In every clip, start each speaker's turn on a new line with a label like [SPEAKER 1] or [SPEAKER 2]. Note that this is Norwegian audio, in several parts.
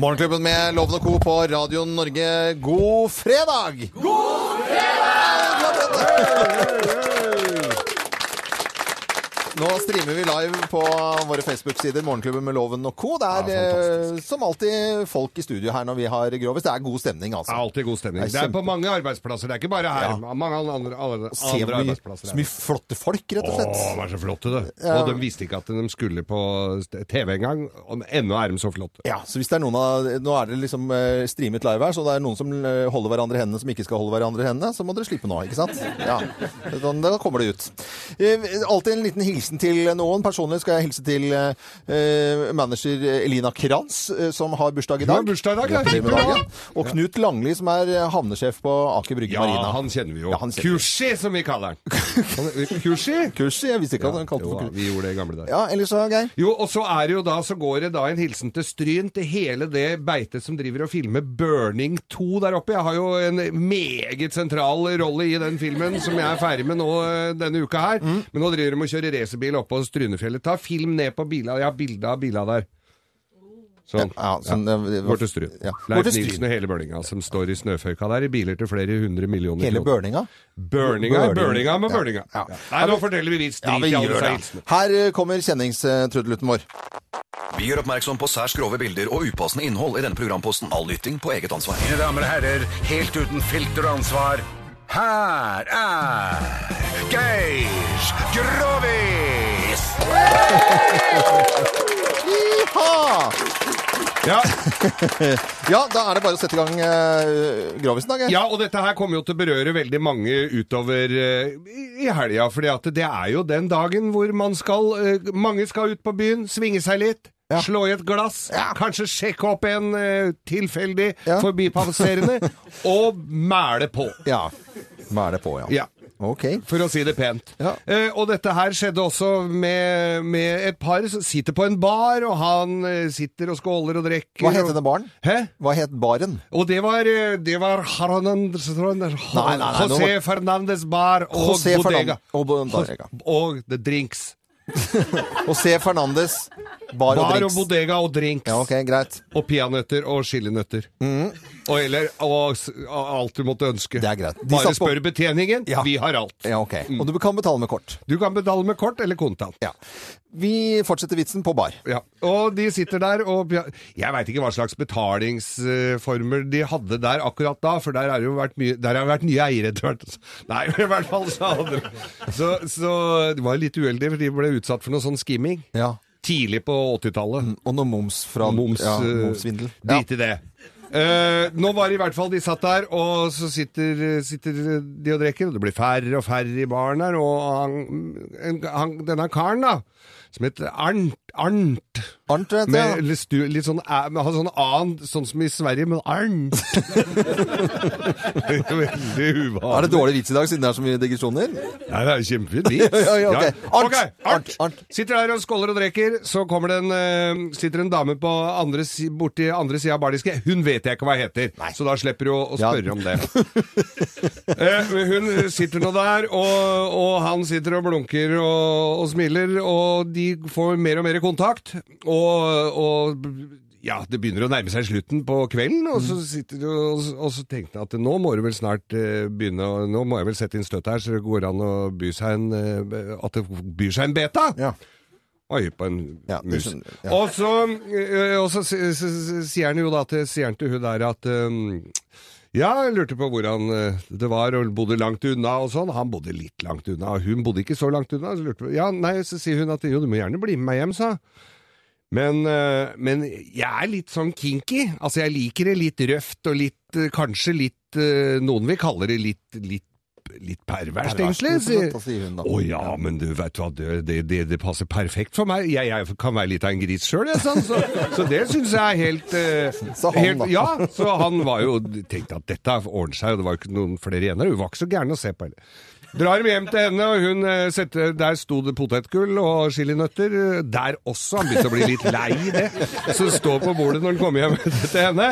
[SPEAKER 1] Morgenklubben med Loven og Co. på Radio Norge, god fredag! God fredag! Nå streamer vi live på våre Facebook-sider, Morgenklubben med Loven og Co. Det er eh, som alltid folk i studio her når vi har grovis. Det er god stemning,
[SPEAKER 2] Det
[SPEAKER 1] altså.
[SPEAKER 2] er alltid god stemning.
[SPEAKER 1] Det er
[SPEAKER 2] Det er på
[SPEAKER 1] kjempe-
[SPEAKER 2] mange arbeidsplasser. Det er ikke bare her.
[SPEAKER 1] Ja.
[SPEAKER 2] Mange alle andre, alle,
[SPEAKER 1] Se hvor
[SPEAKER 2] andre
[SPEAKER 1] mye,
[SPEAKER 2] arbeidsplasser.
[SPEAKER 1] så mye flotte folk, rett og slett.
[SPEAKER 2] Å, vær så flotte, du.
[SPEAKER 1] Ja.
[SPEAKER 2] Og de visste ikke at de skulle på st- TV engang. og Ennå er de så flotte.
[SPEAKER 1] Ja, så hvis det er noen av, Nå er det liksom eh, streamet live her, så det er noen som eh, holder hverandre i hendene som ikke skal holde hverandre i hendene, så må dere slippe nå, ikke sant? Ja, sånn, Da kommer det ut. Eh, Alltid en liten hilsen til noen. Personlig skal jeg hilse til eh, eh, manager Elina Kranz, eh, som har bursdag i
[SPEAKER 2] Hun
[SPEAKER 1] dag.
[SPEAKER 2] har bursdag i dag, ja.
[SPEAKER 1] Gratulerer med dagen. Og Knut Langli, som er eh, havnesjef på Aker Brygge
[SPEAKER 2] Ja,
[SPEAKER 1] Marina.
[SPEAKER 2] han kjenner vi jo.
[SPEAKER 1] Ja, han kjenner vi.
[SPEAKER 2] Kursi, som vi kaller han. Han- Kursi?
[SPEAKER 1] Kurs, jeg visste ikke at han kalte
[SPEAKER 2] Jo,
[SPEAKER 1] det for kurs.
[SPEAKER 2] vi gjorde det i gamle dager.
[SPEAKER 1] Ja, ellers så, Geir?
[SPEAKER 2] Jo, og så er det jo da, så går det da en hilsen til Stryn, til hele det beitet som driver og filmer Burning 2 der oppe. Jeg har jo en meget sentral rolle i den filmen som jeg er ferdig med nå eh, denne uka her.
[SPEAKER 1] Mm.
[SPEAKER 2] Men nå driver de og kjører racerbil oppe på Strynefjellet. Ta film ned på bila, jeg har bilde av bila der. Sånn.
[SPEAKER 1] Ja, sånn, det-
[SPEAKER 2] Går til Stryn.
[SPEAKER 1] Ja. Går
[SPEAKER 2] Leif
[SPEAKER 1] til Stryn.
[SPEAKER 2] Nilsen og hele Børninga som står i snøføyka der, i biler til flere hundre millioner
[SPEAKER 1] Hele
[SPEAKER 2] kroner.
[SPEAKER 1] burninga?
[SPEAKER 2] Børninga,
[SPEAKER 1] Børning.
[SPEAKER 2] Børninga med
[SPEAKER 1] Ja,
[SPEAKER 2] Børninga.
[SPEAKER 1] ja.
[SPEAKER 2] Nei, nå forteller vi vits
[SPEAKER 1] Ja,
[SPEAKER 2] drit
[SPEAKER 1] vi
[SPEAKER 2] i alle
[SPEAKER 1] gjør
[SPEAKER 2] disse
[SPEAKER 1] det.
[SPEAKER 2] hilsenene.
[SPEAKER 1] Her eh, kommer kjenningstrudeluten vår.
[SPEAKER 3] Vi gjør oppmerksom på særs grove bilder og upassende innhold i denne programposten. All lytting på eget ansvar.
[SPEAKER 4] Mine damer og herrer, helt uten filter og ansvar, her er Geir Grovis!
[SPEAKER 1] Iha!
[SPEAKER 2] Ja.
[SPEAKER 1] Ja, da er det bare å sette i gang eh, Grovisen, da, Geir.
[SPEAKER 2] Ja, og dette her kommer jo til å berøre veldig mange utover eh, i- i helga, fordi at det er jo den dagen hvor man skal, eh, mange skal ut på byen, svinge seg litt, slå i et glass, kanskje sjekke opp en eh, tilfeldig
[SPEAKER 1] Ja.
[SPEAKER 2] forbipasserende, og mæle på.
[SPEAKER 1] Ja. Hva er det på, ja?
[SPEAKER 2] Ja.
[SPEAKER 1] Ok.
[SPEAKER 2] For å si det pent.
[SPEAKER 1] Ja.
[SPEAKER 2] Eh, og dette her skjedde også med, med et par som sitter på en bar, og han eh, sitter og skåler og drikker.
[SPEAKER 1] Hva het
[SPEAKER 2] og-
[SPEAKER 1] denne baren?
[SPEAKER 2] Hæ?
[SPEAKER 1] Hva het baren?
[SPEAKER 2] Og det var, det var Hernandez,
[SPEAKER 1] nei, nei, nå
[SPEAKER 2] José
[SPEAKER 1] må-
[SPEAKER 2] Fernandes Bar og
[SPEAKER 1] José
[SPEAKER 2] Bodega.
[SPEAKER 1] Fernan- og Bodega.
[SPEAKER 2] Hos- Og The Drinks.
[SPEAKER 1] José Fernandes. Bar, og
[SPEAKER 2] Bar og
[SPEAKER 1] drinks.
[SPEAKER 2] Bodega og Drinks.
[SPEAKER 1] ja, ok, greit.
[SPEAKER 2] Og peanøtter og chilinøtter. Og, eller, og, s- og alt du måtte ønske.
[SPEAKER 1] Det er greit. De
[SPEAKER 2] Bare
[SPEAKER 1] satt på-
[SPEAKER 2] spør betjeningen.
[SPEAKER 1] Ja.
[SPEAKER 2] Vi har alt.
[SPEAKER 1] Ja, ok. Og du kan betale med kort.
[SPEAKER 2] Du kan betale med kort eller kontant.
[SPEAKER 1] Ja. Vi fortsetter vitsen på bar.
[SPEAKER 2] Ja, Og de sitter der og Jeg veit ikke hva slags betalingsformer de hadde der akkurat da, for der har det jo vært, mye, der har det vært nye eiere etter hvert. altså. Nei, i hvert fall så hadde de Så, så det var litt uheldig, for de ble utsatt for noe sånn skimming.
[SPEAKER 1] Ja.
[SPEAKER 2] Tidlig på 80-tallet.
[SPEAKER 1] Og noe moms fra
[SPEAKER 2] Moms,
[SPEAKER 1] Mm, ja,
[SPEAKER 2] eh,
[SPEAKER 1] momsvindel. Ja.
[SPEAKER 2] Drit i det. Eh, nå var det i hvert fall de satt der, og så sitter, sitter de og drikker, og det blir færre og færre i baren her, og han, en, han, denne karen, da, som heter Arnt, Arnt
[SPEAKER 1] Arnt, vet
[SPEAKER 2] med
[SPEAKER 1] du.
[SPEAKER 2] litt, stu, litt sånn æ, med ha sånn annen, sånn som i Sverige, men arnt. Veldig uvanlig.
[SPEAKER 1] Er det dårlig vits i dag, siden det er så mye digresjoner?
[SPEAKER 2] Nei, det er jo kjempefint vits.
[SPEAKER 1] Ja, ja, ok. Arnt,
[SPEAKER 2] arnt.
[SPEAKER 1] arnt, arnt.
[SPEAKER 2] Sitter der og skåler og drikker, så kommer det en, eh, sitter en dame på andre, si- borti andre sida av bardisken. Hun vet jeg ikke hva heter, så da slipper du å, å
[SPEAKER 1] Ja.
[SPEAKER 2] spørre om det. Eh, men hun sitter nå der, og, og han sitter og blunker og, og smiler, og de får mer og mer kontakt. Og, og ja, det begynner å nærme seg slutten på kvelden, og så, sitter, de og, og så tenkte jeg at nå må du vel snart eh, begynne å- Nå må jeg vel sette inn støtet her, så det går an å by seg en, eh, at det byr seg en beta.
[SPEAKER 1] Ja.
[SPEAKER 2] Oi, på en
[SPEAKER 1] Ja, det
[SPEAKER 2] mus.
[SPEAKER 1] skjønner- ja.
[SPEAKER 2] Og så, eh, og så s- s- s- sier han jo da til, sier han til hun der at eh, ja, jeg lurte på hvordan eh, det var, og bodde langt unna og sånn. Han bodde litt langt unna, og hun bodde ikke så langt unna. Så lurte vi, ja, nei, så sier hun at jo, du må gjerne bli med meg hjem, sa hun. men, eh, men jeg er litt sånn kinky. Altså, jeg liker det litt røft og litt, eh, kanskje litt eh, Noen vil kalle det litt, litt, litt perverst,
[SPEAKER 1] Perverst,
[SPEAKER 2] egentlig.
[SPEAKER 1] ikke sant, Altså, da, sier hun da.
[SPEAKER 2] Å ja, men du vet hva, det, det, det, det passer perfekt for meg. Jeg, jeg kan være litt av en gris sjøl, jeg, sånn. så, så det syns jeg er helt, eh,
[SPEAKER 1] Sa han,
[SPEAKER 2] helt
[SPEAKER 1] da.
[SPEAKER 2] Ja, så han var jo tenkte at dette ordner seg, og det var jo ikke noen flere igjen der. Hun var ikke så gæren å se på heller. Drar dem hjem til henne, og hun eh, setter, der sto det potetgull og chilinøtter. eh, Der også. Han begynte å bli litt lei i det. Så det står på bordet når han kommer hjem til henne.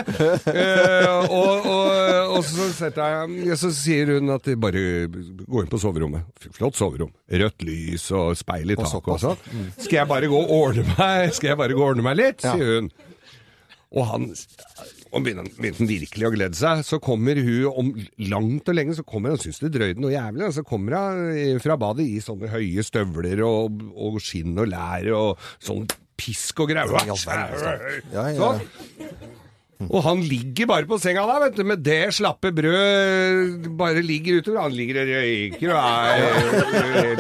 [SPEAKER 2] Eh, og, og, og så, setter jeg, ja, så sier hun at de bare gå inn på soverommet. F- Flott soverom. Rødt lys og speil i taket og sånn. Skal jeg bare gå og ordne meg Skal jeg bare gå og ordne meg litt, sier hun. Og han og begynner, begynte han virkelig å glede seg. Så kommer hun om langt og lenge, så kommer hun, syns det drøyde noe jævlig, og så kommer hun fra badet i sånne høye støvler og, og skinn og lær og sånn pisk og greier.
[SPEAKER 1] all verden, altså. Ja, ja.
[SPEAKER 2] Sånn. Og han ligger bare på senga der, vet du, med det slappe brød bare ligger utover. Han ligger og røyker og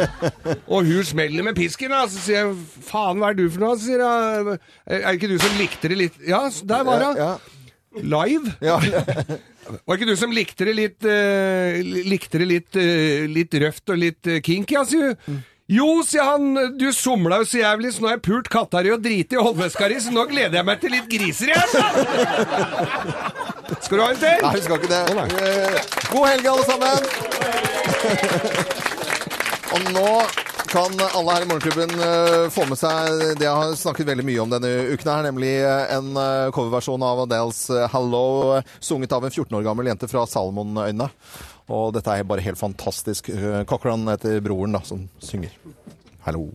[SPEAKER 2] er Og hun smeller med pisken, da. Så sier jeg 'faen, hva er du for noe?' Så sier jeg 'er det ikke du som likte det litt' Ja, der var hun.
[SPEAKER 1] Ja,
[SPEAKER 2] Live.
[SPEAKER 1] ja.
[SPEAKER 2] Var ikke du som likte det litt eh, Likte det litt, eh, litt røft og litt eh, kinky, ja, sier hun. Jo, sier han, du somla jo så jævlig, så nå har jeg pult katta di og driti i håndveska di, så nå gleder jeg meg til litt griser igjen! da!» Skal du ha en til?
[SPEAKER 1] Nei, vi skal ikke det.
[SPEAKER 2] Å, nei.
[SPEAKER 1] Eh, God helg, alle sammen! Og nå kan alle her i Morgenklubben eh, få med seg det jeg har snakket veldig mye om denne uken her, nemlig eh, en eh, coverversjon av Adels Hello, eh, sunget av en 14 år gammel jente fra Salomonøyene. Og dette er bare helt fantastisk. Eh, Cochran heter broren da, som synger. Hallo.